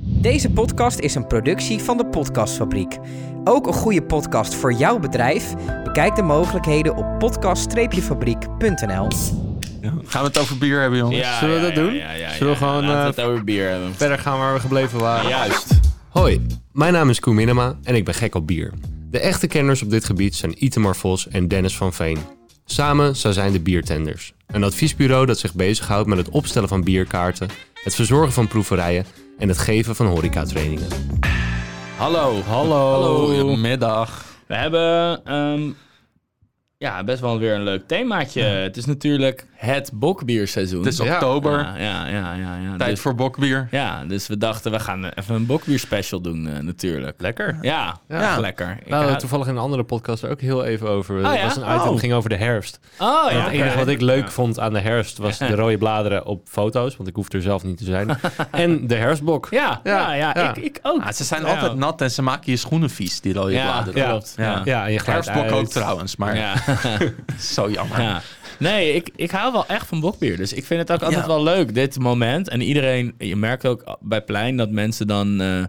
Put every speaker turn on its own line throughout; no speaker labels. Deze podcast is een productie van de Podcastfabriek. Ook een goede podcast voor jouw bedrijf? Bekijk de mogelijkheden op podcast-fabriek.nl.
Gaan we het over bier hebben, jongens?
Zullen we dat doen? Zullen we gewoon,
Laten we
eh,
het over bier hebben.
Verder gaan waar we gebleven waren.
Juist.
Hoi, mijn naam is Koen Minema en ik ben gek op bier. De echte kenners op dit gebied zijn Itemar Vos en Dennis van Veen. Samen zo zijn de Biertenders. Een adviesbureau dat zich bezighoudt met het opstellen van bierkaarten, het verzorgen van proeverijen en het geven van horecatrainingen.
Hallo.
Hallo.
Hallo.
Middag.
We hebben ehm, ja, best wel weer een leuk themaatje. Het is natuurlijk het bokbierseizoen.
Het is
Ja.
oktober.
ja, ja, ja, ja, ja.
Tijd
Dus-
voor bokbier.
Ja, dus we dachten we gaan even een bokbier special doen eh, natuurlijk.
Lekker.
Ja, ja.
Ja.
lekker. Ik
Nou,
hou-
toevallig in een andere podcast er ook heel even over.
Ah,
Dat
ja?
was een item,
Oh.
ging over de herfst.
Oh
En
ja.
het enige wat ik leuk
Ja.
vond aan de herfst was de rode bladeren op foto's, want ik hoef er zelf niet te zijn. En de herfstbok.
Ja, ja, ja,
Ja.
Ik, ik ook.
Ah, ze zijn
Ja.
altijd nat en ze maken je schoenen vies, die rode
Ja,
bladeren.
ja. klopt. Ja.
Ja, en je glijdt
Herfstbok ook
uit.
trouwens, maar
Ja.
zo jammer.
Ja. Nee, ik, ik hou wel echt van bokbier. Dus ik vind het ook altijd
Ja.
wel leuk, dit moment. En iedereen, je merkt ook bij Plein dat mensen dan eh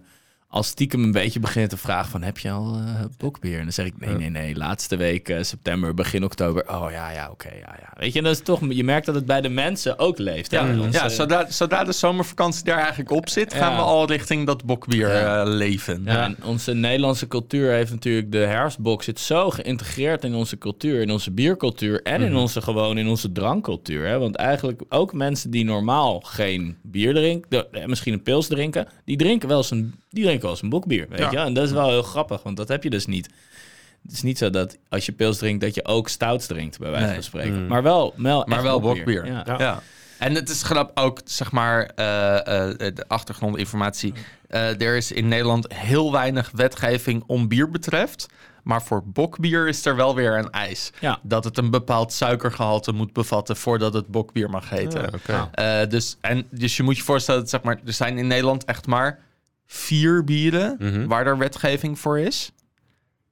al stiekem een beetje beginnen te vragen van... heb je al eh, bokbier? En dan zeg ik, nee, nee, nee. Laatste week eh, september, begin oktober. Oh ja, ja, oké, ja, ja. Weet je, en dat is toch, je merkt dat het bij de mensen ook leeft. hè?
Ja,
Want,
ja
eh,
zodra, zodra de zomervakantie daar eigenlijk op zit, gaan
Ja.
we al richting dat bokbier
Ja.
eh, leven.
Ja, en onze Nederlandse cultuur heeft natuurlijk de herfstbox zit zo geïntegreerd in onze cultuur, in onze biercultuur en
Mhm.
in onze gewoon in onze drankcultuur. Hè? Want eigenlijk ook mensen die normaal geen bier drinken, de- eh, misschien een pils drinken, die drinken wel eens een, die drinken wel eens een bokbier, weet
Ja.
je? En dat is wel heel grappig, want dat heb je dus niet. Het is niet zo dat als je pils drinkt dat je ook stouts drinkt bij wijze
Nee. Mhm.
van spreken, maar wel, wel
Maar
echt
wel bokbier.
Ja.
Ja. En het is grap ook, zeg maar, eh, eh, de achtergrondinformatie.
Mm.
Eh, er is in Nederland heel weinig wetgeving om bier betreft. Maar voor bokbier is er wel weer een eis.
Ja.
Dat het een bepaald suikergehalte moet bevatten voordat het bokbier mag heten.
oké.
Eh, dus, en, dus je moet je voorstellen, dat, zeg maar, er zijn in Nederland echt maar vier bieren
Mhm.
waar er wetgeving voor is.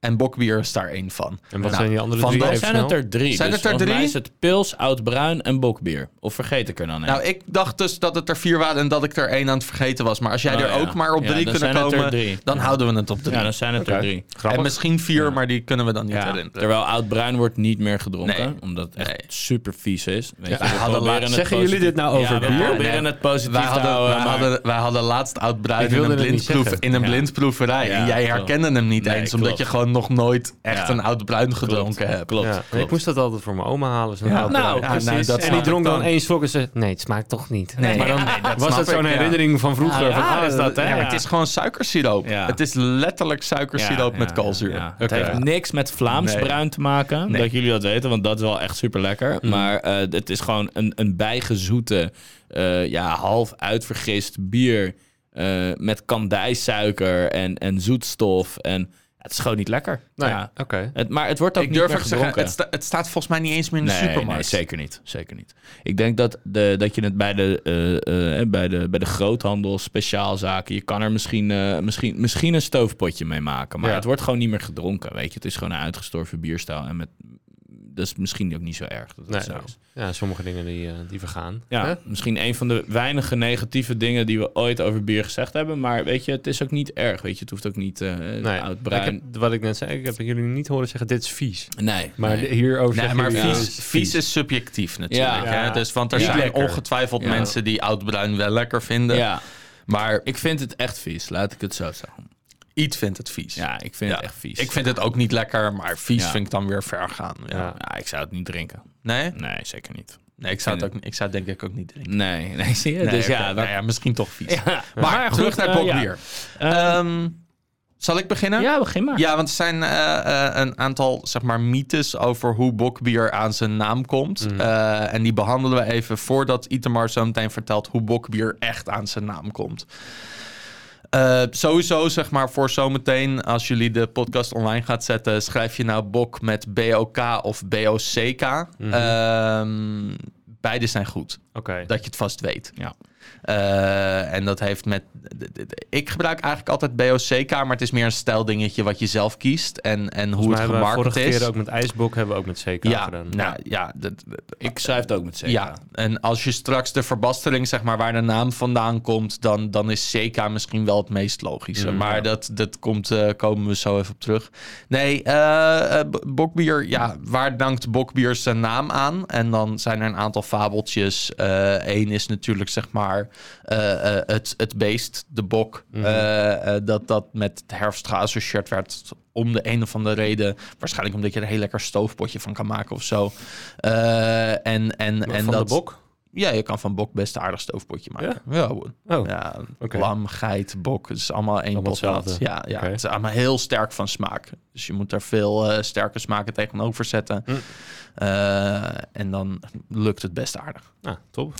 En bokbier is daar één van.
En wat
Nou,
zijn die andere
van
drie?
dat
even
Zijn
snel?
het er drie?
Zijn
Dus
het er
volgens mij
drie?
Is het pils, oud bruin en bokbier? Of vergeet ik er dan een?
Nou, ik dacht dus dat het er vier waren en dat ik er één aan het vergeten was. Maar als jij
Oh,
er
ja.
ook maar op
Ja,
drie
dan
kunnen
zijn het er
komen,
drie.
dan houden we het op drie.
Ja, dan zijn het er drie.
en misschien vier, maar die kunnen we dan niet
Ja,
herinneren.
terwijl oud-bruin wordt niet meer gedronken,
Nee.
omdat het echt
Nee.
super vies is. Weet je, we
hadden
proberen
laatst-
het
Zeggen jullie
positief-
dit nou over
ja, we
bier?
proberen
Nee.
het positief
Wij
te
hadden,
houden.
wij,
maar-
hadden, wij hadden laatst oud bruin
Ik
in
wilde
een,
het niet
blindproef,
zeggen.
in een
Ja.
blindproeverij.
Ja,
en jij
klopt.
herkende hem niet
Nee,
eens, omdat je
klopt.
gewoon nog nooit echt
Ja.
een oud bruin gedronken
Klopt.
hebt.
Klopt.
Ja,
klopt.
ik moest dat altijd voor mijn oma halen. zo'n oud
nou,
bruin.
Ja, nou,
precies.
dat
en die
snap
dronk
ik
dan
dan.
één slok en ze... Nee, het smaakt toch niet.
Nee,
maar dan
ja, dat
was
snap
dat
ik,
zo'n
ja.
herinnering van vroeger.
Ja,
van,
ja,
ah, is dat, hè?
Ja, maar het is gewoon suikersiroop.
Ja.
Het is letterlijk
Ja,
suikersiroop
ja,
met
ja,
koolzuur.
ja. Het
Oké.
heeft niks met Vlaams
Nee.
bruin te maken,
Nee. Mhm.
dat jullie dat weten, want dat is wel echt super lekker. Maar eh, het is gewoon een, een bijgezoete, eh, ja, half uitvergist bier eh, met kandijsuiker en, en zoetstof. En het is gewoon niet lekker.
Nee,
Ja.
Nou oké.
Het, maar het wordt ook
Ik
niet
durf
meer
ook te zeggen,
gedronken.
het, sta- het staat volgens mij niet eens meer in de
Nee, nee,
supermarkt.
zeker niet. Zeker niet. Ik denk dat, de, dat je het bij de, eh, eh, bij de, bij de groothandel, speciaalzaken, je kan er misschien, eh, misschien, misschien een stoofpotje mee maken. Maar
Ja.
het wordt gewoon niet meer gedronken, weet je. Het is gewoon een uitgestorven bierstijl. En met, dat is misschien ook niet zo erg dat het
Nee,
zo
nou,
is.
ja, sommige dingen die, eh, die vergaan.
Ja,
Hè?
misschien een van de weinige negatieve dingen die we ooit over bier gezegd hebben. Maar weet je, het is ook niet erg, weet je. Het hoeft ook niet eh
Nee,
Nou,
oud
ik heb,
bruin.
wat ik net zei, ik heb jullie niet horen zeggen, dit is vies.
Nee.
Maar
nee.
hierover
Nee,
zeggen
maar
jullie, eh,
vies,
ja,
vies. is subjectief natuurlijk.
Ja.
Hè? Dus, want er
Niet
zijn
lekker.
ongetwijfeld
Ja.
mensen die oud-bruin wel lekker vinden.
ja,
Maar
ik vind het echt vies, laat ik het zo zeggen.
iets vindt het vies.
Ja, ik vind
Ja.
het echt vies.
Ik vind het ook niet lekker, maar vies
Ja.
vind ik dan weer ver gaan. Ja.
Ja.
Ja, ik zou het niet drinken.
Nee?
Nee, zeker niet.
Nee, ik zou, het
vind
ook, niet- ik zou het denk ik ook niet drinken.
Nee, nee zie je?
Nee,
dus
oké.
ja, dat-
nou ja, misschien toch vies.
Ja.
Maar, terug
goed,
naar
eh,
bokbier. Ehm, zal ik beginnen?
ja. Ja, begin maar.
Ja, want er zijn eh, eh, een aantal zeg maar, mythes over hoe bokbier aan zijn naam komt. Eh, en die behandelen we even voordat Itamar zo meteen vertelt hoe bokbier echt aan zijn naam komt. Eh, sowieso, zeg maar, voor zometeen, als jullie de podcast online gaat zetten, schrijf je nou bok met BOK of BOCK. Ehm beide zijn goed,
Oké.
dat je het vast weet.
Ja.
Eh, en dat heeft met... Ik gebruik eigenlijk altijd BOCK, maar het is meer een stijldingetje wat je zelf kiest en, en hoe het
Volgens mij hebben we
gemarket
vorige
is.
keer ook met ijsbok, hebben we ook met CK
ja,
gedaan.
nou, ja, dat, dat-
Ik schrijf het ook met CK.
ja, en als je straks de verbastering, zeg maar, waar de naam vandaan komt, dan, dan is CK misschien wel het meest logische. maar dat, dat komt, eh, komen we zo even op terug. Nee, eh, eh, B- Bokbier, ja, waar dankt Bokbier zijn naam aan? En dan zijn er een aantal fabeltjes. Eén is natuurlijk, zeg maar, eh, eh, het, het beest, de bok, eh, eh, dat dat met het herfst geassocieerd werd om de een of andere reden. Waarschijnlijk omdat je er een heel lekker stoofpotje van kan maken of zo. Eh, en, en,
Maar
en
van
dat,
de bok?
Ja, je kan van bok best een aardig stoofpotje maken. Ja, hoor.
Oh.
ja
oké.
lam, geit, bok. Het is allemaal één
Allemaal
pot nat.
hetzelfde.
Ja, ja
Oké.
het is allemaal heel sterk van smaak. Dus je moet daar veel eh, sterke smaken tegenover zetten.
Hm.
Eh, en dan lukt het best aardig.
Nou, top.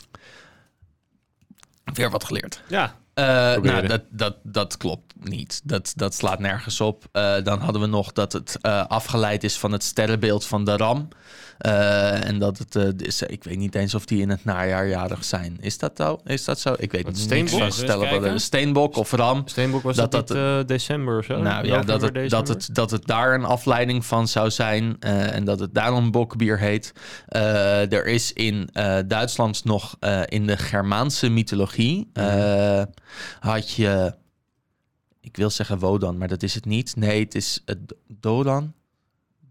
Weer wat geleerd.
Ja.
Eh, nou,
Proberen.
dat, dat, dat klopt niet. Dat, dat slaat nergens op. Eh, dan hadden we nog dat het eh, afgeleid is van het sterrenbeeld van de ram. Eh, en dat het eh, is, ik weet niet eens of die in het najaar jarig zijn. Is dat zo? Is dat zo? Ik weet
Wat,
niet.
steenbok?
Stellen
Eens
stellen
kijken.
we steenbok of ram.
Steenbok was
Dat
dat,
dat
niet, eh, december of zo?
Nou ja, dat het, dat, het, dat het daar een afleiding van zou zijn eh, en dat het daarom bokbier heet. Eh, er is in eh, Duitsland nog eh, in de Germaanse mythologie eh, had je, ik wil zeggen Wodan, maar dat is het niet. Nee, het is eh, Do- Dodan.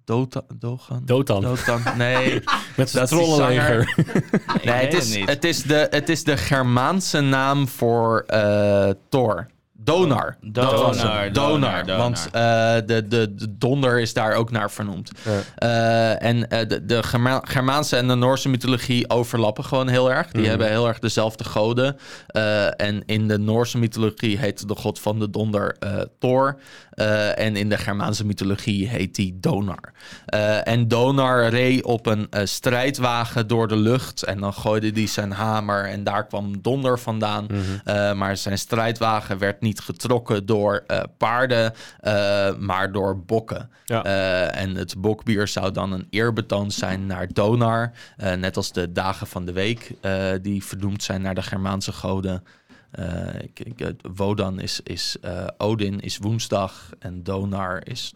Dota, Dogan?
Dotan.
Dotan, nee.
Met
dat is die trollenleger. nee, het
weet
is,
het niet.
het, is de, het is de Germaanse naam voor eh Thor. Donar.
Oh, Donar,
Dat was hem.
Donar,
Donar.
Donar.
Want eh, de, de, de donder is daar ook naar vernoemd. Eh, en eh, de, de Germa- Germaanse en de Noorse mythologie overlappen gewoon heel erg. Die hebben heel erg dezelfde goden. Eh, en in de Noorse mythologie heet de god van de donder eh, Thor. Eh, en in de Germaanse mythologie heet die Donar. Eh, en Donar reed op een eh, strijdwagen door de lucht. En dan gooide hij zijn hamer en daar kwam donder vandaan. Eh, maar zijn strijdwagen werd niet getrokken door eh, paarden, eh, maar door bokken.
Ja.
Eh, en het bokbier zou dan een eerbetoon zijn naar Donar. eh, net als de dagen van de week, eh, die vernoemd zijn naar de Germaanse goden. Eh, ik, ik- eh, Wodan is, is eh, Odin, is woensdag. En Donar is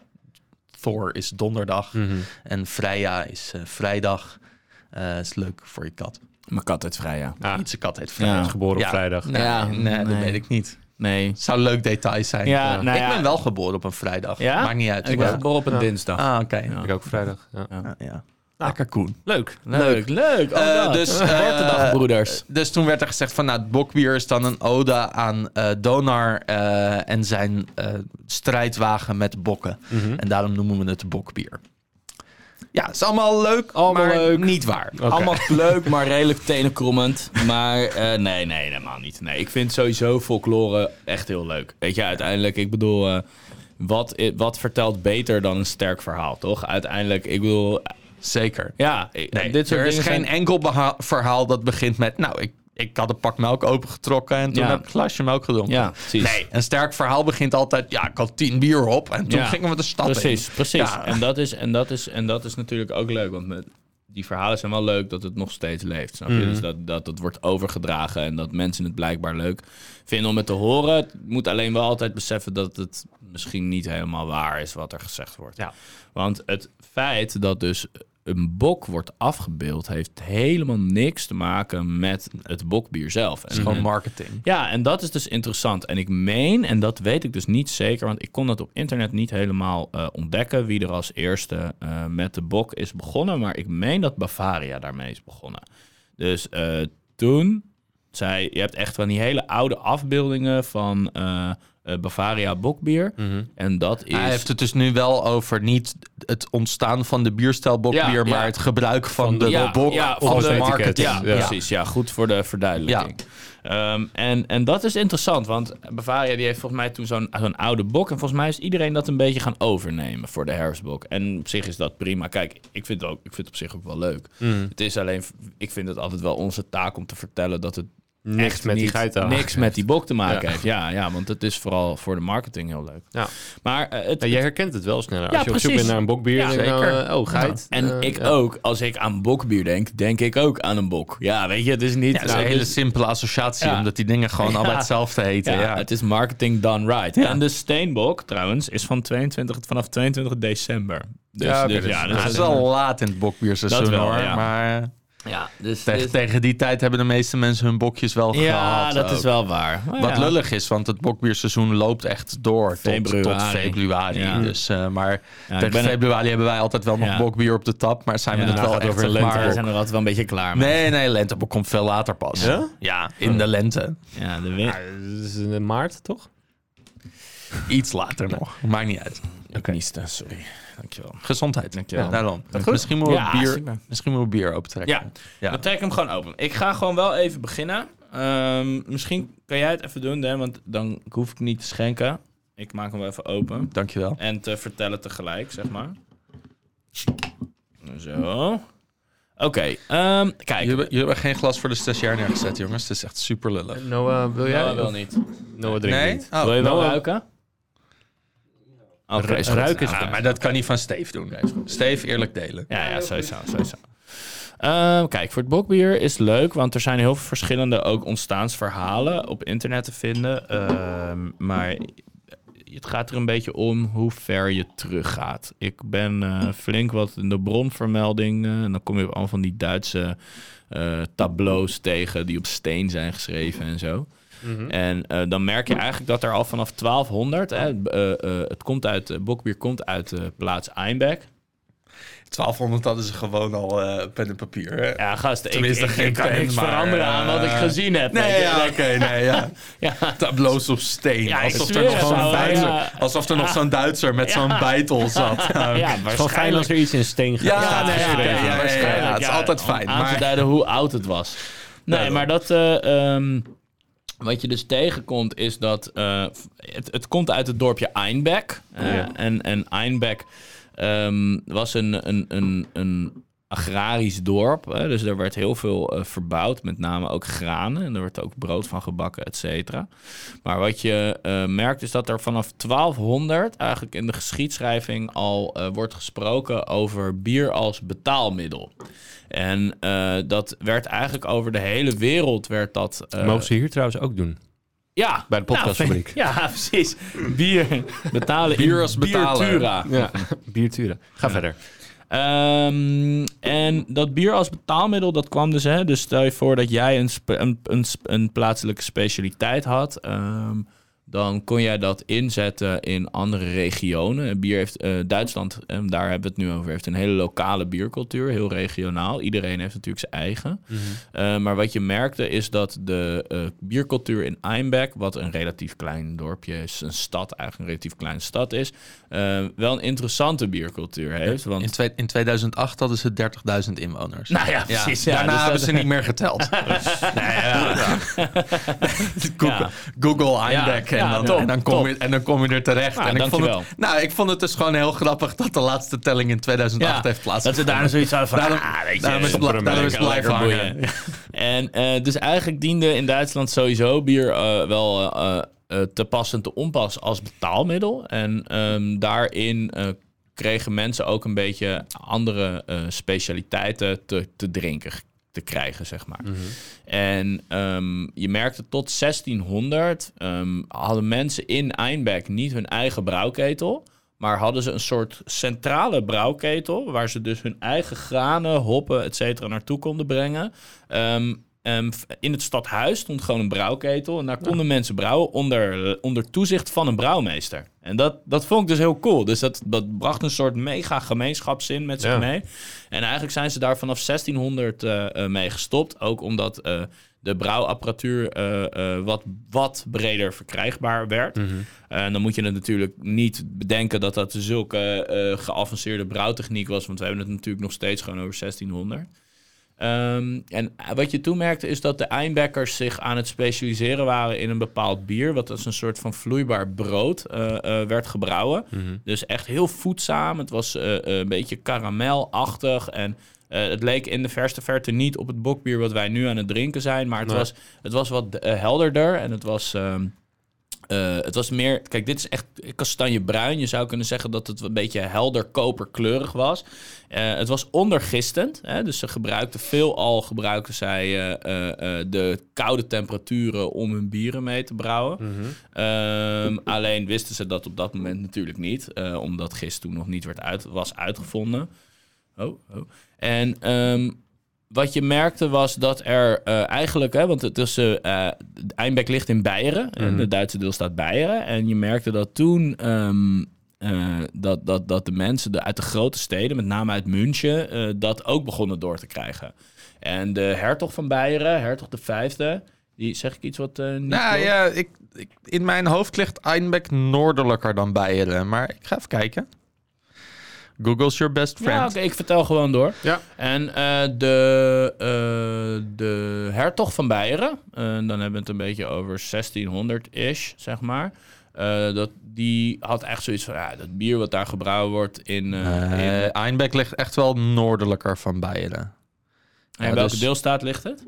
Thor, is donderdag.
Hm.
En Freya is eh, vrijdag. Eh is leuk voor je kat.
Mijn kat heet vrij, ja.
Ah,
Ietse kat heet Freya.
Ja.
geboren op
Ja.
vrijdag.
Nee,
Ja,
nee, dat
nee.
weet ik niet.
Nee.
Het zou een leuk detail zijn.
Ja, nou
ik
ja.
ben wel geboren op een vrijdag.
Ja?
Maakt niet uit.
Ik ben geboren op een dinsdag.
Ah, oké.
Ja.
Ik ook vrijdag. Ja.
Ja, ja. Lekker Koen.
Leuk, leuk, leuk.
Eh,
Oh,
dus,
dus
eh,
geboortedagbroeders.
Dus toen werd er gezegd van, nou, het bokbier is dan een ode aan eh, Donar eh, en zijn eh, strijdwagen met bokken.
Mhm.
En daarom noemen we het bokbier. Ja, het is allemaal leuk,
Allemaal
maar
leuk.
niet waar.
Allemaal leuk, maar redelijk tenenkrommend. Maar eh, nee, nee, helemaal niet. Nee, ik vind sowieso folklore echt heel leuk. Weet je, uiteindelijk, ik bedoel, eh, wat, i- wat vertelt beter dan een sterk verhaal, toch? Uiteindelijk, ik bedoel, eh,
Zeker.
ja, ik-
Nee,
dit soort
er is
dingen
geen
zijn-
enkel beha- verhaal dat begint met, nou, ik, ik had een pak melk opengetrokken en toen
Ja.
heb ik een glasje melk gedronken.
Ja, precies.
Nee, een sterk verhaal begint altijd, ja, ik had tien bier op en toen
Ja.
gingen we de stad in.
Precies, precies.
Ja.
En, dat is, en, dat is, en dat is natuurlijk ook leuk, want met, die verhalen zijn wel leuk dat het nog steeds leeft. Snap je?
Mhm.
Dus dat, dat dat wordt overgedragen en dat mensen het blijkbaar leuk vinden om het te horen. Het moet alleen wel altijd beseffen dat het misschien niet helemaal waar is wat er gezegd wordt.
Ja.
Want het feit dat dus een bok wordt afgebeeld, heeft helemaal niks te maken met het bokbier zelf. En
Gewoon marketing.
ja, en dat is dus interessant. En ik meen, en dat weet ik dus niet zeker, want ik kon dat op internet niet helemaal eh, ontdekken, wie er als eerste eh, met de bok is begonnen. Maar ik meen dat Bavaria daarmee is begonnen. Dus eh, toen zei, je hebt echt van die hele oude afbeeldingen van eh, eh, Bavaria bokbier. En dat is...
Mhm. Hij heeft het dus nu wel over niet het ontstaan van de bierstijl bokbier,
Ja, ja.
maar het gebruik van, de
ja,
bok
ja,
van
van
de
het etiket.
marketing.
Ja,
Ja.
precies. Ja, goed voor de verduidelijking. Ehm, en, en dat is interessant, want Bavaria die heeft volgens mij toen zo'n zo'n oude bok. En volgens mij is iedereen dat een beetje gaan overnemen voor de herfstbok. En op zich is dat prima. Kijk, ik vind het,
Mm.
ook, ik vind het op zich ook wel leuk. Het is alleen, ik vind het altijd wel onze taak om te vertellen dat het
Niks
echt
met die
niet-
geiten.
Niks met die bok te maken
Ja.
heeft. Ja, ja, want het is vooral voor de marketing heel leuk.
Ja.
Maar eh, het,
Ja, jij herkent het wel sneller.
Ja,
Als je op zoek
precies.
bent naar een bokbier,
Ja,
dan denk je nou,
zeker.
eh, oh, geit.
En
Eh,
ik
ja.
ook, als ik aan bokbier denk, denk ik ook aan een bok. Ja, weet je, het is
Ja,
niet...
dat is
het
een hele
is-
simpele associatie,
Nou, dus- Ja.
omdat die dingen gewoon
Ja.
allebei hetzelfde heten.
ja,
Ja,
het is marketing done right. En de steenbok, trouwens, is van 22, vanaf 22 december. Dus
Ja,
ja,
oké,
dus, ja,
dat, is,
dat is
wel laat in het bokbierseizoen
Dat wel,
hoor.
ja.
Maar eh,
Ja, dus,
tegen,
dus-
tegen die tijd hebben de meeste mensen hun bokjes wel
ja
gehad.
dat
ook.
is wel waar. Maar
Wat
ja.
lullig is, want het bokbierseizoen loopt echt door
Februari.
tot, tot februari.
Ja.
Dus, eh, maar
Ja, ik
tegen
ben er-
februari hebben wij altijd wel nog
Ja.
bokbier op de tap, maar zijn we
Ja.
het
Nou,
wel
gaat het
echt
over
zeg
de lente
maar-
We zijn er altijd wel een beetje klaar mee.
Nee, nee, lentebok komt veel later pas.
Ja?
Ja, in de lente.
Ja, de win-
Ja, dat ah, is in maart, toch?
Iets later nog. Maakt niet dus uit.
Ik nieste, sorry. Dankjewel.
Gezondheid.
Dankjewel.
Daarom. Misschien moeten we
Ja,
bier,
super.
misschien moeten we bier opentrekken.
Ja, dan trek ik hem gewoon open. Ik ga gewoon wel even beginnen. Ehm, misschien kan jij het even doen, Dan, want dan hoef ik niet te schenken. Ik maak hem wel even open.
Dankjewel.
En te vertellen tegelijk, zeg maar. Zo. Oké, ehm, kijk.
Jullie hebben, jullie hebben geen glas voor de stagiair neergezet, jongens. Het is echt super lullig.
Noah, wil jij?
Noah wel niet.
Noah drinkt
Nee?
niet.
Oh.
Wil je wel
Noah-
ruiken? Oké,
Ru-
is goed.
ruiken is
Ah,
Ah, maar dat kan niet van Steve doen. Steve, eerlijk delen.
Ja, ja, sowieso, sowieso. Ehm, kijk, voor het bokbier is leuk, want er zijn heel veel verschillende ook ontstaansverhalen op internet te vinden. Ehm, maar het gaat er een beetje om hoe ver je teruggaat. Ik ben eh, flink wat in de bronvermelding. eh, en dan kom je op allemaal van die Duitse eh, tableaus tegen die op steen zijn geschreven en zo. En eh, dan merk je eigenlijk dat er al vanaf 1200, hè, eh, eh, het komt uit, eh, bokbier komt uit de plaats Einbeck.
1200 hadden ze gewoon al eh, pen en papier. Hè?
Ja, gast, ik,
Tenminste,
ik,
geen
ik kan
pen,
niks
maar,
veranderen aan wat ik
eh,
gezien heb. weet
Nee,
je.
ja, oké, nee, ja.
Ja.
Tableaus op steen.
Ja, ik
alsof, er
zweer
nog
het
zo'n
wel,
Duitser,
ja.
alsof er nog zo'n Duitser met zo'n beitel zat. Ja,
Ja,
oké.
Het is wel fijn als er iets in steen gaat.
Ja,
Ja,
nee, ja,
nee, oké,
ja, ja, ja,
waarschijnlijk,
ja, het is altijd
om
fijn,
Aan
maar-
te duiden hoe oud het was. Nee,
Daarom.
maar dat... eh, ehm, wat je dus tegenkomt is dat... eh, f- het, het komt uit het dorpje Einbeck. eh,
Ja.
En, en Einbeck ehm, was een... een, een, een agrarisch dorp, hè, dus er werd heel veel eh, verbouwd, met name ook granen en er werd ook brood van gebakken, et cetera. Maar wat je eh, merkt is dat er vanaf 1200 eigenlijk in de geschiedschrijving al eh, wordt gesproken over bier als betaalmiddel. En eh, dat werd eigenlijk over de hele wereld werd dat. eh,
Mogen ze hier trouwens ook doen?
ja,
bij de podcastfabriek.
Nou, ja, precies. Bier betalen. in
Bier als betalen.
Biertura.
Ja, bierturen. Ga verder.
Ehm, en dat bier als betaalmiddel, dat kwam dus. Hè, dus stel je voor dat jij een, spe- een, een, sp- een plaatselijke specialiteit had. ehm, dan kon jij dat inzetten in andere regionen. Bier heeft, eh, Duitsland, en daar hebben we het nu over, heeft een hele lokale biercultuur. Heel regionaal. Iedereen heeft natuurlijk zijn eigen. Eh, maar wat je merkte is dat de eh, biercultuur in Einbeck, wat een relatief klein dorpje is, een stad, eigenlijk een relatief kleine stad is, eh, wel een interessante biercultuur heeft. Want
In, twee- in 2008 hadden ze 30.000 inwoners.
nou ja, precies. Ja.
Daarna
dus
hebben
dat-
ze niet meer geteld. Google,
Ja.
Google iMac
Ja,
en,
ja,
dan,
top,
en, dan kom
top.
je, en dan kom je er terecht.
Nou,
en ik vond,
dankjewel.
het, nou, ik vond het dus gewoon heel grappig dat de laatste telling in 2008
Ja,
heeft
Dat ze
plaatsgevonden.
daar zoiets hadden van,
Daarom-
ah, weet je,
daarom is het bla-
eh,
daarom is
lekker,
het blijven
lekker
hangen.
boeien. En eh, dus eigenlijk diende in Duitsland sowieso bier eh, wel eh, eh, te pas en te onpas als betaalmiddel. En ehm, daarin eh, kregen mensen ook een beetje andere eh, specialiteiten te, te drinken te krijgen, zeg maar.
Mhm.
En ehm, je merkte tot 1600 ehm, hadden mensen in Einbeck niet hun eigen brouwketel. Maar hadden ze een soort centrale brouwketel. Waar ze dus hun eigen granen, hoppen, et cetera naartoe konden brengen. Ehm, ehm, f- in het stadhuis stond gewoon een brouwketel. En daar konden mensen brouwen onder, onder toezicht van een brouwmeester. En dat, dat vond ik dus heel cool. Dus dat, dat bracht een soort mega gemeenschapszin met zich
Ja.
mee. En eigenlijk zijn ze daar vanaf 1600 eh, eh, mee gestopt. Ook omdat eh, de brouwapparatuur eh, eh, wat, wat breder verkrijgbaar werd. En dan moet je het natuurlijk niet bedenken dat dat zulke eh, geavanceerde brouwtechniek was. Want we hebben het natuurlijk nog steeds gewoon over 1600. Ehm, en wat je toen merkte is dat de Einbeckers zich aan het specialiseren waren in een bepaald bier. Wat als een soort van vloeibaar brood eh, eh, werd gebrouwen. Dus echt heel voedzaam. Het was eh, eh, een beetje karamelachtig. En eh, het leek in de verste verte niet op het bokbier wat wij nu aan het drinken zijn. Maar het, was, het was wat eh, helderder en het was... ehm, eh, het was meer, kijk, dit is echt kastanjebruin. Je zou kunnen zeggen dat het een beetje helder koperkleurig was. Eh, het was ondergistend, hè, dus ze gebruikten veelal gebruikten zij eh, eh, eh, de koude temperaturen om hun bieren mee te brouwen. Ehm, alleen wisten ze dat op dat moment natuurlijk niet, eh, omdat gist toen nog niet werd uit, was uitgevonden. Oh, oh. En ehm, wat je merkte was dat er eh, eigenlijk, hè, want het is, eh, eh, Einbeck ligt in Beieren,
Mhm.
eh, de Duitse deelstaat Beieren. En je merkte dat toen ehm, eh, dat, dat, dat de mensen de, uit de grote steden, met name uit München, eh, dat ook begonnen door te krijgen. En de hertog van Beieren, hertog de vijfde, die zeg ik iets wat eh, niet
Nou
klopt?
ja, ik, ik- in mijn hoofd ligt Einbeck noordelijker dan Beieren. Maar ik ga even kijken. Google's your best friend.
Ja, oké, ik vertel gewoon door.
Ja.
En eh, de, eh, de hertog van Beieren, eh, dan hebben we het een beetje over 1600-ish, zeg maar. eh, dat, die had echt zoiets van, ja, dat bier wat daar gebrouwen wordt in... eh, in-
Eh, Einbeck ligt echt wel noordelijker van Beieren.
in
ja,
welke
dus-
deelstaat ligt het?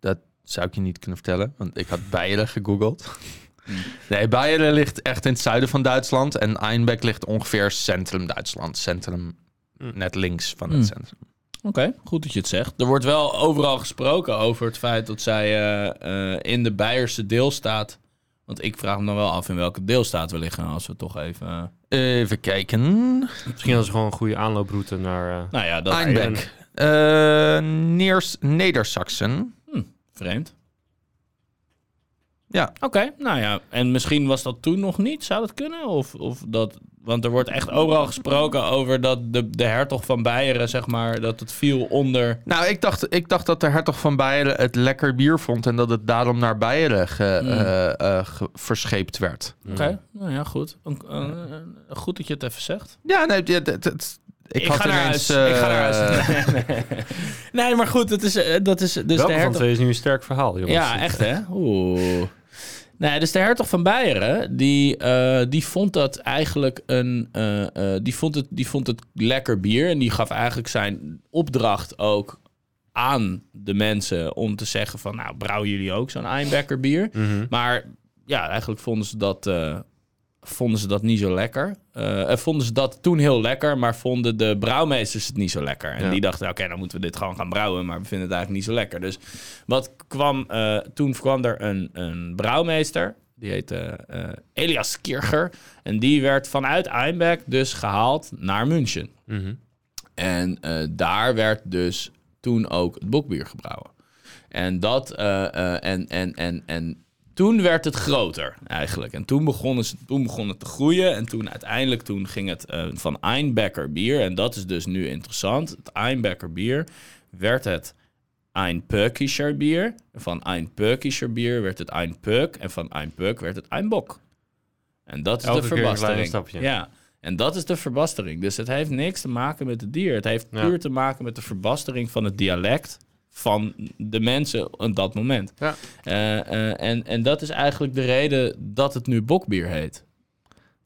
Dat zou ik je niet kunnen vertellen, want ik had Beieren gegoogeld.
Hmm.
Nee, Beieren ligt echt in het zuiden van Duitsland. En Einbeck ligt ongeveer centrum Duitsland. Centrum,
Hmm.
net links van
Mm.
het centrum.
Oké, goed dat je het zegt. Er wordt wel overal gesproken over het feit dat zij eh, eh, in de Beierse deelstaat... Want ik vraag me dan wel af in welke deelstaat we liggen als we toch even... eh,
Even kijken.
Misschien als gewoon een goede aanlooproute naar... eh,
nou ja, dat
Einbeck. Eh Neers, Nedersaksen.
Vreemd.
Ja.
Oké, nou ja. En misschien was dat toen nog niet. Zou dat kunnen? Of, of dat, want er wordt echt overal gesproken over dat de, de hertog van Beieren, zeg maar, dat het viel onder...
Nou, ik dacht, ik dacht dat de hertog van Beieren het lekker bier vond en dat het daarom naar Beieren ge- eh, eh, ge- verscheept werd.
Oké, nou ja, goed. Een- een- een- goed dat je het even zegt.
Ja, nee, dit- dit- dit- ik, had ineens, eh,
ik ga naar huis. Nee, nee. nee, maar goed, dat is, eh, dat is dus de
welke van
hertog...
twee is nu een sterk verhaal, jongens?
Ja, echt hè? Oeh. Nee, dus de hertog van Beieren, die, eh, die vond dat eigenlijk een... eh, eh, die, vond het, die vond het lekker bier en die gaf eigenlijk zijn opdracht ook aan de mensen om te zeggen van... Nou, brouwen jullie ook zo'n Einbecker bier? Maar ja, eigenlijk vonden ze dat... eh, Vonden ze dat niet zo lekker? Eh, eh, vonden ze dat toen heel lekker, maar vonden de brouwmeesters het niet zo lekker? En
Ja.
die dachten, oké, dan moeten we dit gewoon gaan brouwen, maar we vinden het eigenlijk niet zo lekker. Dus wat kwam, eh, toen kwam er een, een brouwmeester. Die heette eh, Elias Kircher. En die werd vanuit Einbeck dus gehaald naar München. En eh, daar werd dus toen ook het bokbier gebrouwen. En dat, eh, eh, en, en, en, en toen werd het groter eigenlijk. En toen begon het, toen begon het te groeien. En toen uiteindelijk toen ging het eh, van Einbecker bier. En dat is dus nu interessant. Het Einbecker bier werd het Ein Pökischer bier. En van Ein Pökischer bier werd het Ein Pök. En van Ein Pök werd het Ein Bok. En dat is
Elke
de
keer een klein
verbastering.
stapje.
Ja, en dat is de verbastering. Dus het heeft niks te maken met het dier. Het heeft
Ja.
puur te maken met de verbastering van het dialect van de mensen op dat moment.
Ja.
Eh, eh, en, en dat is eigenlijk de reden dat het nu bokbier heet.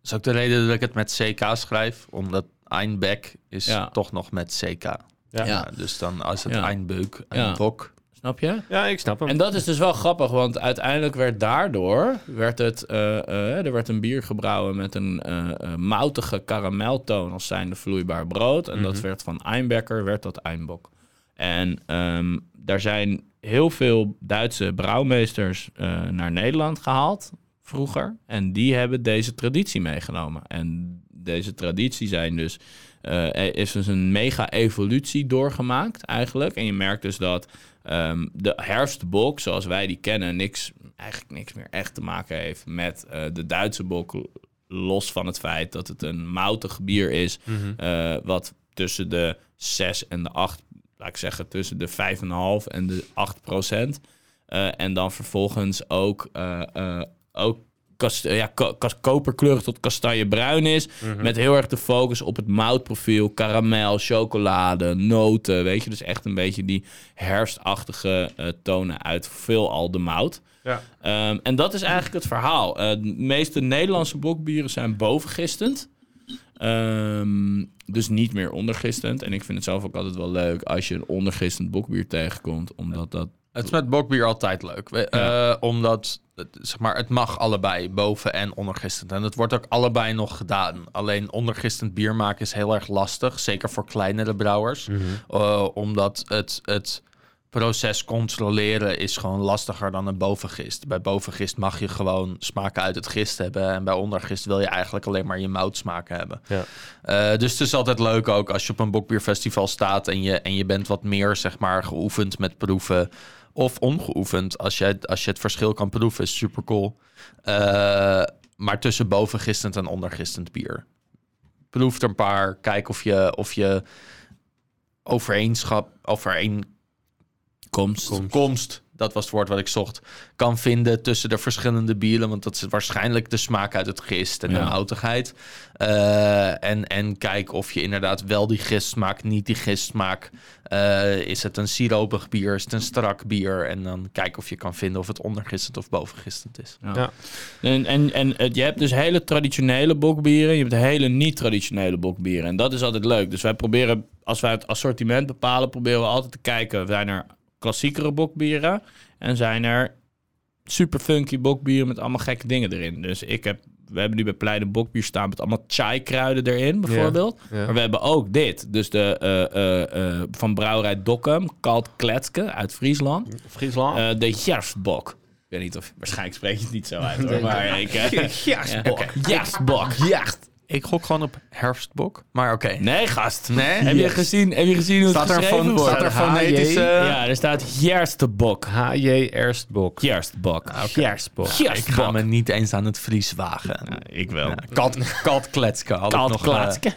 is ook de reden dat ik het met CK schrijf, omdat Einbeck is
Ja.
toch nog met CK.
Ja.
Ja.
dus dan als het
Ja.
Einbeuk,
Ja.
Einbok.
Snap je?
Ja, ik snap hem.
En dat is dus wel grappig, want uiteindelijk werd daardoor werd het, eh, eh, er werd een bier gebrouwen met een eh, eh, moutige karameltoon als zijnde vloeibaar brood. En
Mhm.
dat werd van Einbecker, werd dat Einbok. En ehm, daar zijn heel veel Duitse brouwmeesters eh, naar Nederland gehaald vroeger. En die hebben deze traditie meegenomen. En deze traditie zijn dus, eh, er is dus een mega-evolutie doorgemaakt eigenlijk. En je merkt dus dat ehm, de herfstbok, zoals wij die kennen, niks, eigenlijk niks meer echt te maken heeft met eh, de Duitse bok. Los van het feit dat het een moutig bier is, eh, wat tussen de 6 en de 8, laat ik zeggen, tussen de 5,5 en de 8 procent. Eh, en dan vervolgens ook, eh, eh, ook kas- eh, ja, ko- kas- koperkleurig tot kastanjebruin is. Met heel erg de focus op het moutprofiel, karamel, chocolade, noten. Weet je, dus echt een beetje die herfstachtige eh, tonen uit veelal de mout.
Ja.
Ehm, en dat is eigenlijk het verhaal. Eh, de meeste Nederlandse bokbieren zijn bovengistend. Ehm, dus niet meer ondergistend. En ik vind het zelf ook altijd wel leuk als je een ondergistend bokbier tegenkomt. Omdat dat...
Het is met bokbier altijd leuk. We- eh, omdat het, zeg maar, het mag allebei, boven en ondergistend. En het wordt ook allebei nog gedaan. Alleen ondergistend bier maken is heel erg lastig. Zeker voor kleinere brouwers. Eh, omdat het, het proces controleren is gewoon lastiger dan een bovengist. Bij bovengist mag je gewoon smaken uit het gist hebben. En bij ondergist wil je eigenlijk alleen maar je moutsmaken hebben.
Ja.
Eh, dus het is altijd leuk ook als je op een bokbierfestival staat en je, en je bent wat meer zeg maar, geoefend met proeven. Of ongeoefend. Als je, als je het verschil kan proeven, is super cool. Eh, maar tussen bovengistend en ondergistend bier. Proef er een paar. Kijk of je, of je overeenschap, overeen,
Komst.
komst. dat was het woord wat ik zocht, kan vinden tussen de verschillende bieren. Want dat is waarschijnlijk de smaak uit het gist en de
Ja.
houtigheid. Eh, en, en kijk of je inderdaad wel die gist smaakt, niet die gist smaakt. Eh, is het een siropig bier, is het een strak bier? En dan kijk of je kan vinden of het ondergistend of bovengistend is.
Ja.
Ja.
En, en, en het- je hebt dus hele traditionele bokbieren. Je hebt hele niet-traditionele bokbieren. En dat is altijd leuk. Dus wij proberen, als wij het assortiment bepalen, proberen we altijd te kijken. Zijn er klassiekere bokbieren? En zijn er super funky bokbieren met allemaal gekke dingen erin? Dus ik heb, we hebben nu bij Pleide bokbier staan met allemaal chai kruiden erin, bijvoorbeeld.
Ja.
Maar we hebben ook dit. Dus de eh, eh, eh, van brouwerij Dokkum, Kalt Kletske uit Friesland.
Friesland?
Eh, de Jerfbok. Ik weet niet of... Waarschijnlijk spreek je het niet zo uit, hoor. Maar ik... eh, ja, oké. Jerfbok.
Ik gok gewoon op herfstbok, maar oké.
Nee, gast.
Nee?
Heb, je gezien, heb je gezien hoe
Staat
het
er,
geschreven
van,
wordt? eh,
staat er fonetische...
Ja, er staat Jerstebok.
H.J. Erstbok.
Jerstbok. Jerstbok.
Ah, Ik ga me niet eens aan het Fries wagen.
Ik wel.
Kat, katkletske had ik
Kalt
nog, eh,
Kletske.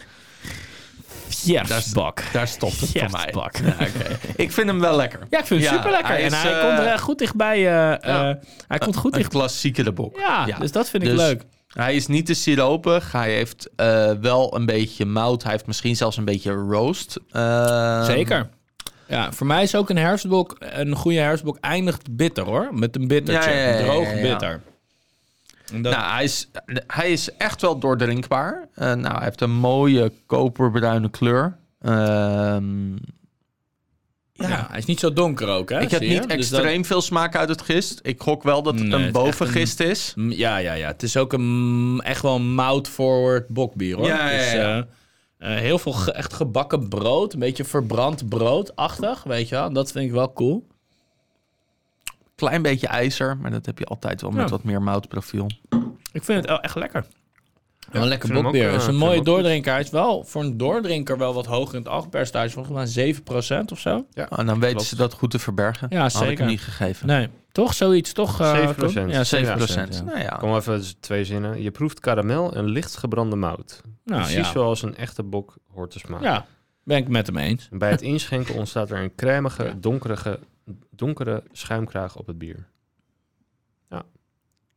Jerstbok.
Daar stopt het voor mij.
Jerstbak.
Ja, oké. Ik vind hem wel lekker.
Ja, ik vind hem
Ja,
super lekker.
hij
En
is,
hij
eh,
komt er eh, goed dichtbij. eh, eh, hij komt goed
Een
dichtbij.
klassieke de bok.
Ja,
Ja.
dus dat vind ik
Dus-
leuk.
Hij is niet te siropig. Hij heeft eh, wel een beetje mout. Hij heeft misschien zelfs een beetje roast. Eh,
Zeker. Ja, voor mij is ook een herfstbok, een goede herfstbok eindigt bitter hoor. Met een bittertje,
Ja, ja, ja,
een droog
ja, ja.
bitter. En dat-
Nou, hij is, hij is echt wel doordrinkbaar. Eh, nou, hij heeft een mooie koperbruine kleur. Ehm
ja. hij is niet zo donker ook hè.
ik heb
zie je?
niet
Dus dat-
extreem veel smaak uit het gist. Ik gok wel dat het
Nee,
een
het is echt
bovengist is.
Mm, ja, ja, ja. Het is ook een, mm, echt wel een mout-forward bokbier hoor.
Ja, ja,
Dus,
ja.
eh, eh, heel veel ge- echt gebakken brood, een beetje verbrand broodachtig, weet je wel. Dat vind ik wel cool.
Klein beetje ijzer, maar dat heb je altijd wel met
Ja.
wat meer moutprofiel.
Ik vind het wel echt lekker. wel een lekker
vind hem
bokbier.
ook, eh,
Het is een
ik vind
mooie
hem ook goed.
doordrinker. Hij is wel voor een doordrinker wel wat hoger in het alcoholpercentage. Volgens mij 7% of zo.
Oh, en dan weten
Klopt.
ze dat goed te verbergen.
Ja,
Had ik
zeker.
hem niet gegeven.
Nee, toch zoiets, toch? eh,
7%.
Koen?
Ja,
Ja,
7
procent.
Nou ja.
Kom even dus twee zinnen. Je proeft karamel en licht gebrande mout.
Nou,
Precies
ja.
zoals een echte bok hoort te smaken.
ja, ben ik met hem eens.
En bij het inschenken ontstaat er een cremige, donkerige, donkere schuimkraag op het bier. Ja,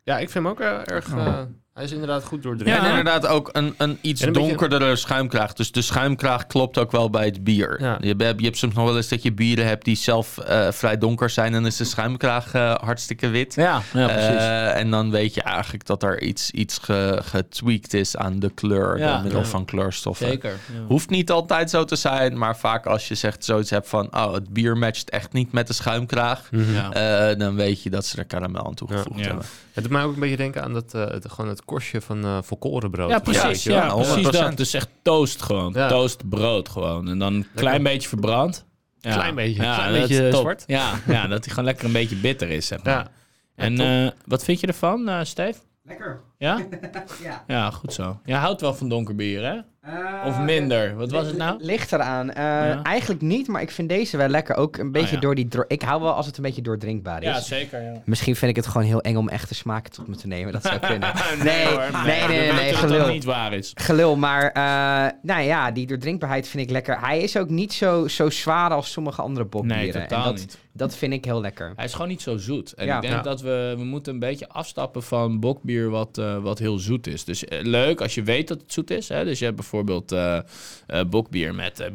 ja ik vind hem ook eh, erg... eh, hij is inderdaad goed doordrenkt.
Oh. Ja.
En inderdaad ook een, een iets
En een beetje-
donkerdere schuimkraag. Dus de schuimkraag klopt ook wel bij het bier.
Ja.
Je, hebt, je hebt soms nog wel eens dat je bieren hebt die zelf eh, vrij donker zijn. En is de schuimkraag eh, hartstikke wit.
Ja, ja
Eh, en dan weet je eigenlijk dat er iets, iets ge, getweakt is aan de kleur.
Ja.
door middel
Ja.
van kleurstoffen.
Zeker.
Hoeft niet altijd zo te zijn, maar vaak als je zegt zoiets hebt van... oh, het bier matcht echt niet met de schuimkraag...
Ja.
eh, dan weet je dat ze er karamel aan toegevoegd
Ja. Ja.
hebben.
Het doet mij ook een beetje denken aan dat, eh, het, gewoon het korstje van eh volkorenbrood.
Ja, precies.
Ja,
Ja,
ja,
precies
100%.
dat. Dus echt toast gewoon.
Ja.
Toast brood gewoon. En dan een klein beetje verbrand. Ja.
Klein beetje.
Ja,
Klein
dat is
beetje
top.
zwart.
Ja, ja, dat hij gewoon lekker een beetje bitter is, zeg maar.
Ja.
En eh, wat vind je ervan, eh Steve?
Lekker.
Ja?
Ja.
Ja, goed zo. Jij houdt wel van donker bier, hè? Of minder? Wat was het nou?
Eh, Ligt eraan. Eh,
Ja. Ah,
Eigenlijk niet, maar ik vind deze wel lekker. Ook een beetje
ja.
door die... dro- Ik hou wel als het een beetje doordrinkbaar is.
Ja, zeker. Ja.
Misschien vind ik het gewoon heel eng om echte smaken tot me te nemen. Dat zou kunnen.
Ah,
Nee,
hoor,
nee, nee,
We
nee,
weten dat
gelul.
dat niet waar is.
Gelul, maar eh, nou ja, die doordrinkbaarheid vind ik lekker. Hij is ook niet zo, zo zwaar als sommige andere bokbieren.
Nee,
en
totaal
dat,
niet.
dat vind ik heel lekker.
Hij is gewoon niet zo zoet. En
Ja.
ik denk
Ja.
dat we, we moeten een beetje afstappen van bokbier wat, eh, wat heel zoet is. Dus eh, leuk als je weet dat het zoet is. Hè? Dus je hebt bijvoorbeeld eh, eh, bokbier met eh,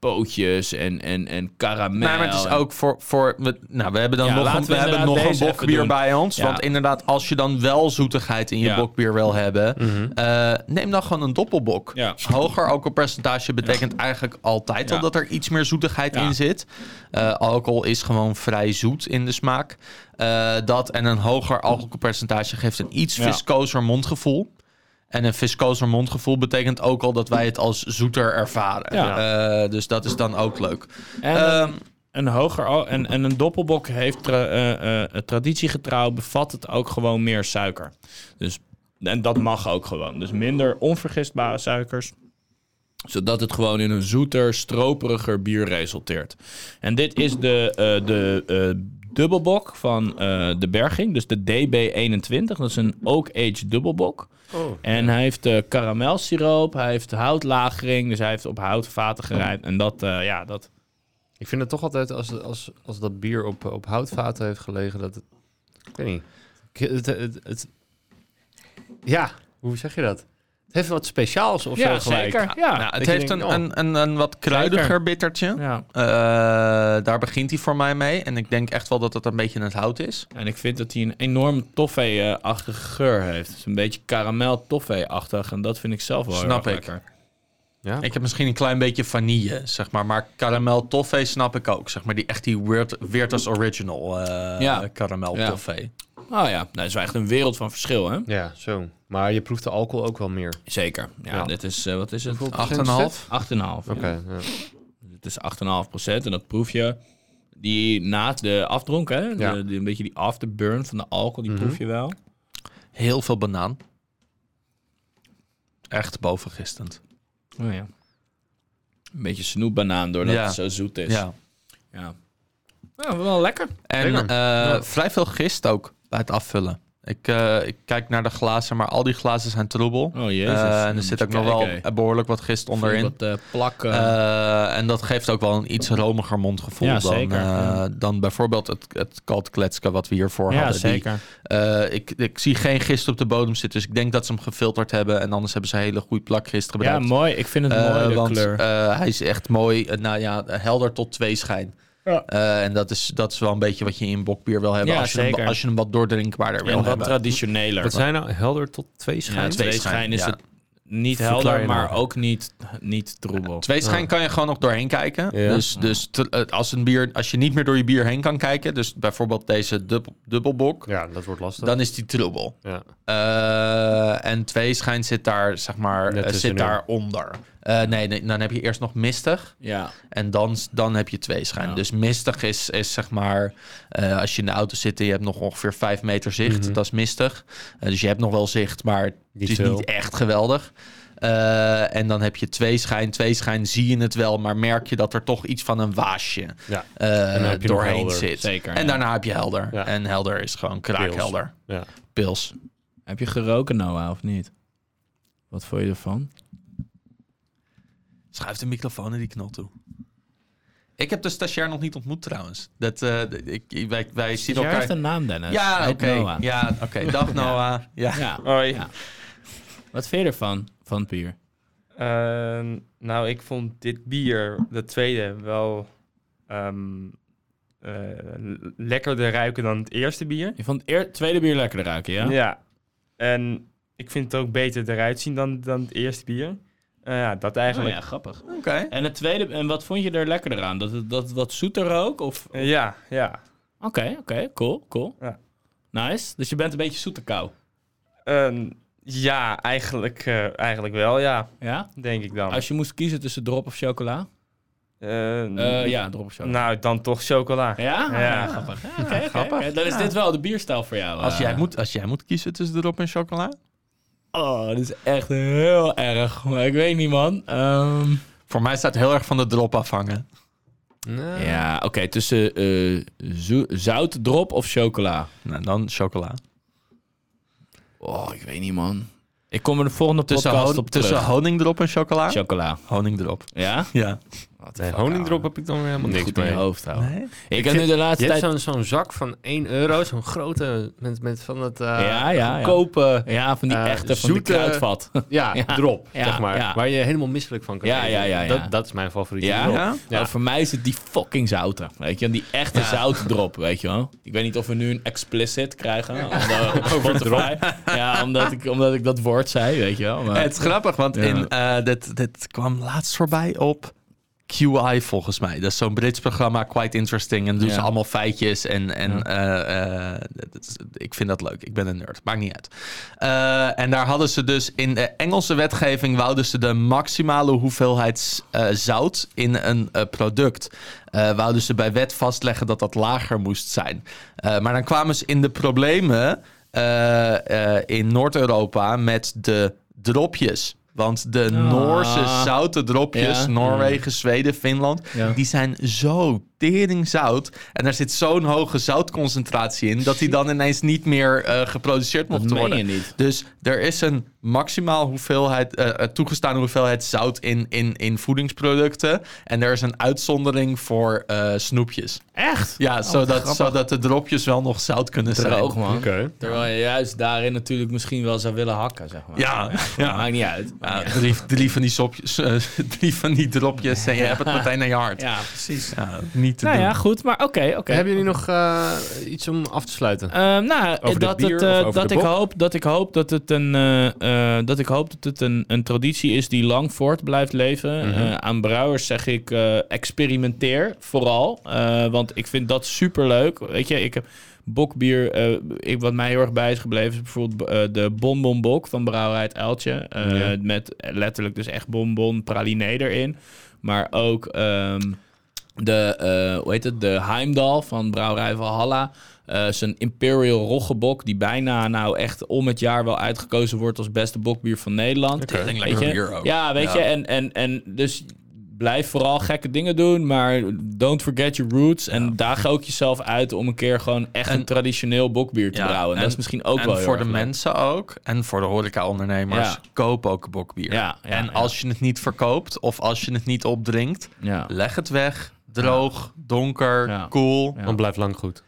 bokkenpootjes en, en, en karamel.
Nee, maar het is
en-
ook voor... voor we, nou, we hebben dan
Ja,
nog
laten
een,
we
we hebben
inderdaad
nog een
deze even
bokbier
doen.
bij ons.
Ja.
Want inderdaad, als je dan wel zoetigheid in je
Ja. Mhm.
bokbier wil hebben... eh, neem dan gewoon een doppelbok.
Ja.
Hoger alcoholpercentage betekent eigenlijk altijd
Ja.
al dat er iets meer zoetigheid
Ja.
in zit. Eh, alcohol is gewoon vrij zoet in de smaak. Eh, dat en een hoger alcoholpercentage geeft een iets
Ja.
viscozer mondgevoel. En een viscozer mondgevoel betekent ook al dat wij het als zoeter ervaren. Eh, dus dat is dan ook leuk.
En
Ehm,
een hoger al- en, en een doppelbok heeft tra- eh, eh, traditiegetrouw bevat het ook gewoon meer suiker. Dus, en dat mag ook gewoon. Dus minder onvergistbare suikers. Zodat het gewoon in een zoeter, stroperiger bier resulteert. En dit is de, eh, de eh, dubbelbok van eh, de Berging. Dus de DB21. Dat is een Oak Age dubbelbok. En hij heeft eh karamelsiroop, hij heeft houtlagering, dus hij heeft op houtvaten gerijpt. En dat, eh, ja, dat
Ik vind het toch altijd, als, als, als dat bier op, op houtvaten heeft gelegen, dat het... Ik weet niet. Ik- Het, het, het- ja, hoe zeg je dat? Het heeft wat speciaals of
Ja,
zo gelijk.
zeker. Ja.
nou,
dat
het
je
heeft
denkt,
een,
oh.
een, een, een wat kruidiger
Zeker.
bittertje.
ja.
Eh, daar begint hij voor mij mee. En ik denk echt wel dat dat een beetje het hout is.
En ik vind dat hij een enorm toffee-achtige geur heeft. Het is een beetje karamel toffee-achtig. En dat vind ik zelf wel heel
Snap
erg
ik.
lekker.
Ja?
Ik heb misschien een klein beetje vanille, zeg maar. Maar karamel toffee snap ik ook, zeg maar. Die echt die Weird, weird as Original eh
Ja.
karamel
Ja.
toffee.
Oh ja, dat is wel echt een wereld van verschil, hè?
Ja, zo. Maar je proeft de alcohol ook wel meer.
Zeker. Ja,
Ja.
dit is, eh, wat is het? 8,5.
8,5.
8,5.
Oké,
ja.
ja.
Het is 8,5 procent. En dat proef je die na de afdronk, hè?
Ja.
De- die- een beetje die afterburn van de alcohol,
Mhm.
die proef je wel.
Heel veel banaan. Echt bovengistend.
Oh ja. Een beetje snoepbanaan, doordat
Ja.
het zo zoet is.
Ja.
Ja. Ja, wel lekker.
En
Lekker.
eh, vrij veel gist ook bij het afvullen. Ik, eh, ik kijk naar de glazen, maar al die glazen zijn troebel.
Oh, jezus.
Eh,
Dan
en er
moet
zit
je
ook nog wel
kijken,
eh, behoorlijk wat gist onderin.
Wat eh, plakken.
Eh, en dat geeft ook wel een iets romiger mondgevoel
Ja,
dan,
zeker,
eh,
ja.
dan bijvoorbeeld het, het kaltkletske wat we hiervoor hadden. Die, eh, ik, ik zie geen gist op de bodem zitten, dus ik denk dat ze hem gefilterd hebben. En anders hebben ze een hele goede plak gist
ja,
gebruikt.
mooi. Ik vind het
Eh,
mooi, de
want
kleur.
eh, hij is echt mooi, eh, nou ja, helder tot twee schijn.
Ja.
Eh, en dat is, dat is wel een beetje wat je in bokbier wil hebben.
Ja,
als, je hem,
zeker.
als je hem wat doordrinkbaarder wil
en wat
hebben.
traditioneler.
Wat zijn nou? Helder tot twee
ja,
schijnen?
twee schijn is
ja.
het niet
Verklaar
helder,
je
maar
nou.
ook niet, niet troebel.
Twee schijn kan je gewoon nog doorheen kijken.
Ja.
Dus, dus te- eh, als, een bier, als je niet meer door je bier heen kan kijken, dus bijvoorbeeld deze dubbel, dubbelbok,
Ja, dat wordt lastig.
dan is die trubbel.
ja.
Eh, en twee schijn zit daar, zeg maar,
Net
eh,
tussenin.
zit daaronder. Eh, nee, nee, dan heb je eerst nog mistig
Ja,
en dan, dan heb je twee schijn.
Ja.
Dus mistig is, is zeg maar, eh, als je in de auto zit en je hebt nog ongeveer vijf meter zicht, dat is mistig. Eh, dus je hebt nog wel zicht, maar het
Mhm. Niet
is
veel.
niet echt geweldig. Eh, en dan heb je twee schijn, twee schijn zie je het wel, maar merk je dat er toch iets van een waasje
Ja.
eh,
En dan heb je nog
doorheen
helder,
zit.
zeker,
en
ja.
daarna heb je helder.
Ja.
En helder is gewoon kraakhelder.
ja.
Pils.
Heb je geroken, Noah, of niet? Wat vond je ervan?
Schuif de microfoon in die knol toe. Ik heb de stagiair nog niet ontmoet trouwens. Dat, eh, d- ik, wij, wij zien
Jij
elkaar...
heeft een naam, Dennis. Hij
Ja,
heet
oké.
Eh, Noah.
Ja, oké. Dag Noah. Ja.
Ja.
Hoi.
Ja. Wat vind je ervan, van het bier?
Ehm, nou, ik vond dit bier, dat tweede, wel ehm, eh, l- lekkerder ruiken dan het eerste bier.
Je vond het eer- tweede bier lekkerder ruiken, ja? Oh,
En ik vind het ook beter eruit zien dan, dan het eerste bier. Eh, ja, dat
Oh
eigenlijk.
ja, grappig.
Oké.
En het tweede, en wat vond je er lekkerder aan? Dat het dat het wat zoeter rook? Of...
Eh, ja, ja.
Oké, oké, cool, cool.
Ja.
Nice. Dus je bent een beetje zoeterkou.
Ehm, ja, eigenlijk, eh, eigenlijk wel, ja,
Ja?
denk ik dan.
Als je moest kiezen tussen drop of chocola?
Ehm,
Eh, ja, drop of chocola.
Nou, dan toch chocola.
ja?
Ja.
Ja, grappig. Ja, oké, oké,
grappig.
oké. Dan is dit wel de bierstijl voor jou.
Als,
eh.
jij moet, als jij moet kiezen tussen erop en chocola?
Oh, dit is echt heel erg. Maar ik weet niet, man. Ehm,
Voor mij staat heel erg van de drop afhangen.
Nou,
ja, oké. tussen eh zo- zoutdrop of chocola?
Nou, dan chocola.
Oh, ik weet niet, man. Ik kom er de volgende
Tussen,
podcast
hon-
op
tussen
terug.
honingdrop en chocola?
chocola.
honingdrop.
Ja?
Ja.
nee,
Honingdrop heb ik dan weer helemaal
niks
Goed in je
mee.
hoofd houden.
Nee?
Ik heb nu de
Je
laatste
hebt
tijd...
zo'n zo'n zak van 1 euro, zo'n grote, met, met van dat eh
Ja, ja, ja.
goedkope,
Ja, van die
eh,
echte, van die
zoete-
kruidvat.
ja, drop,
ja,
zeg maar.
ja.
Waar je helemaal misselijk van kan
Ja,
eten.
ja, ja, ja.
Dat, dat is mijn favoriete
Ja?
drop.
Ja?
Ja.
Nou, voor mij is het die fucking zouten. Weet je, die echte zoutdrop, weet je wel. Ik weet niet of we nu een explicit krijgen. Omdat, Over Ja, omdat ik, omdat ik dat woord zei, weet je wel. Maar,
Eh, Het is grappig, want
Ja.
in, eh, dit, dit kwam laatst voorbij op QI volgens mij. Dat is zo'n Brits programma, Quite Interesting. En dan doen
Ja.
ze allemaal feitjes en, en eh, eh, dat is- ik vind dat leuk. Ik ben een nerd, maakt niet uit. Eh, en daar hadden ze dus in de Engelse wetgeving... wouden ze de maximale hoeveelheid eh, zout in een eh, product... eh wouden ze bij wet vastleggen dat dat lager moest zijn. Eh, maar dan kwamen ze in de problemen eh, eh, in Noord-Europa met de dropjes... Want de Noorse zoute dropjes,
Ah. Ja.
Noorwegen, Zweden, Finland,
Ja.
die zijn zo teringzout. En daar zit zo'n hoge zoutconcentratie in, dat die dan ineens niet meer eh, geproduceerd mocht
meen
worden.
je niet.
Dus er is een maximaal hoeveelheid, eh, eh, toegestaan hoeveelheid zout in, in, in voedingsproducten. En er is een uitzondering voor eh, snoepjes.
echt? Oh,
Ja, zodat, zodat de dropjes wel nog zout kunnen
Droog,
zijn.
man.
Oké.
Terwijl je juist daarin natuurlijk misschien wel zou willen hakken, zeg maar.
Ja, ja.
Maakt niet uit. Maar
Ja,
ja.
drie, drie van die sopjes, eh, drie van die dropjes en je hebt het meteen aan je hart.
Ja, precies.
Ja, niet te
Nou
doen.
ja, goed, maar oké, oké.
Hebben jullie nog eh, iets om af te sluiten?
Ehm, nou,
Over dit
dat,
bier
het,
of
eh,
over
dat,
de
ik
bok?
hoop, dat ik hoop dat het een, eh, eh, dat ik hoop dat het een, een traditie is die lang voort blijft leven.
Mhm.
Eh, aan brouwers zeg ik, eh, experimenteer vooral. eh, want ik vind dat superleuk. Weet je, ik heb bokbier, eh, ik, wat mij heel erg bij is gebleven, is bijvoorbeeld eh, de Bonbon Bok van Brouwerij Het Uiltje. Eh,
Ja.
Met letterlijk dus echt bonbon, praliné erin. Maar ook... ehm, de, eh, hoe heet het, de Heimdal van Brouwerij Valhalla. eh zijn Imperial Roggebok, die bijna nou echt om het jaar wel uitgekozen wordt als beste bokbier van Nederland.
Oké. Tering
Weet je?
bier ook.
Ja, weet
Ja.
je, en, en, en dus blijf vooral gekke dingen doen, maar don't forget your roots. En daag ook jezelf uit om een keer gewoon echt een
En-
traditioneel bokbier te
Ja,
brouwen.
en-
dat is misschien ook
en
wel heel
voor de
erg leuk.
mensen ook. En voor de horecaondernemers.
Ja.
Koop ook bokbier.
Ja, ja,
en
ja.
als je het niet verkoopt of als je het niet opdrinkt,
Ja.
leg het weg. Droog, donker,
Ja.
koel.
Ja.
Dan blijft lang goed.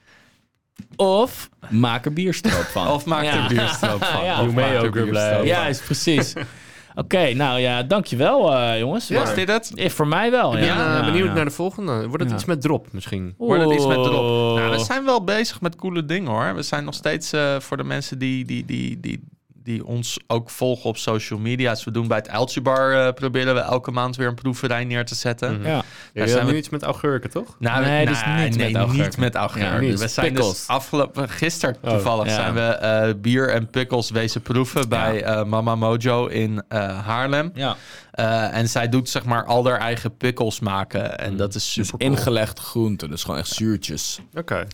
Of maak er bierstroop van.
Of maak er
Ja.
bierstroop van.
Ah, Ja.
Of
Doe mee
maak er
ook weer
bierstroop
blij.
van.
Ja, is precies. Oké, nou ja, dankjewel eh, jongens.
Was dit het?
Eh, voor mij wel, ja.
Ik ben eh,
Ja,
benieuwd
ja.
naar de volgende. Wordt het
Ja.
iets met drop misschien?
Wordt het iets met erop?
Oeh.
Nou, we zijn wel bezig met coole dingen hoor. We zijn nog steeds eh, voor de mensen die, die, die, die, die ons ook volgen op social media. Dus we doen bij het Uiltje Bar eh, proberen we elke maand weer een proeverij neer te zetten.
Mhm.
Ja.
Jullie
zijn
hebben
we-
nu iets met augurken, toch?
Nou,
Nee,
nee,
dus niet
nee,
met augurken.
niet met augurken.
Ja, niet.
we zijn
Pickles. Oh,
dus afgelopen gisteren toevallig
ja.
zijn we eh, bier en pickles wezen proeven bij eh, Mama Mojo in eh, Haarlem.
ja.
Eh, en zij doet zeg maar al haar eigen pickles maken
Mm.
en dat
Dus
is super cool.
Ingelegd groenten, dus gewoon echt zuurtjes.
Oké.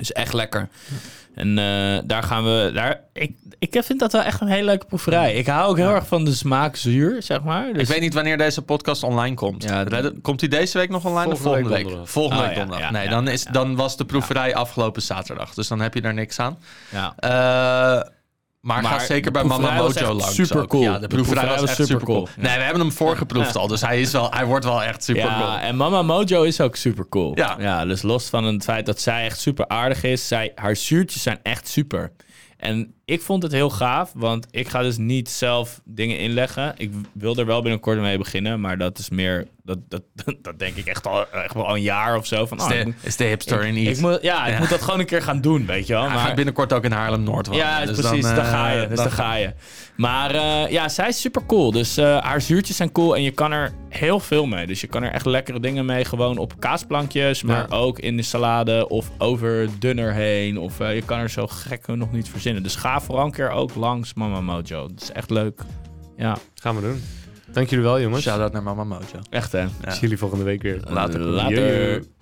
Is echt lekker. En eh, daar gaan we. Daar, ik, ik vind dat wel echt een hele leuke proeverij. Ik hou ook heel erg van de smaak zuur, zeg maar. Dus,
Ik weet niet wanneer deze podcast online komt.
Ja, d-
Redden- komt die deze week nog online of
Volgende
volgende
week
week?
donderdag.
Volgende
Oh,
week
ja,
donderdag.
ja,
nee,
ja,
dan, is, dan was de proeverij afgelopen zaterdag. Dus dan heb je daar niks aan.
ja.
Eh, maar,
Maar
ga zeker bij
de
Mama
proeverij was
Mojo
echt
langs.
super
ook.
cool.
Ja, de proeverij was echt super cool.
Ja.
Nee, we hebben hem voorgeproefd al. Dus hij, is wel, hij wordt wel echt super
ja,
cool.
en Mama Mojo is ook super cool.
Ja.
dus los van het feit dat zij echt super aardig is, zij, haar zuurtjes zijn echt super. En ik vond het heel gaaf, want ik ga dus niet zelf dingen inleggen. Ik wil er wel binnenkort mee beginnen, maar dat is meer, dat, dat, dat denk ik echt al, echt wel al een jaar of zo. Van, oh,
Is
ik
de,
moet-
is de hipster in
ik
iets.
moet, ja, ik
Ja.
moet dat gewoon een keer gaan doen, weet je wel.
Hij gaat
Maar,
binnenkort ook in Haarlem-Noord wonen.
ja,
Dus
precies,
dan,
daar
eh,
ga je. Dus daar ga je. Maar eh, ja, zij is super cool. Dus eh, haar zuurtjes zijn cool en je kan er heel veel mee. Dus je kan er echt lekkere dingen mee. Gewoon op kaasplankjes, maar ook in de salade of over dunner heen. Of eh, je kan er zo gek nog niet verzinnen. Dus ga vooral een keer ook langs Mama Mojo. Dat is echt leuk. Ja,
Gaan we doen. Dank jullie wel, jongens.
Shout-out naar Mama Mojo.
echt hè.
Ik zie jullie volgende week weer.
Later.
Later.
Jeu.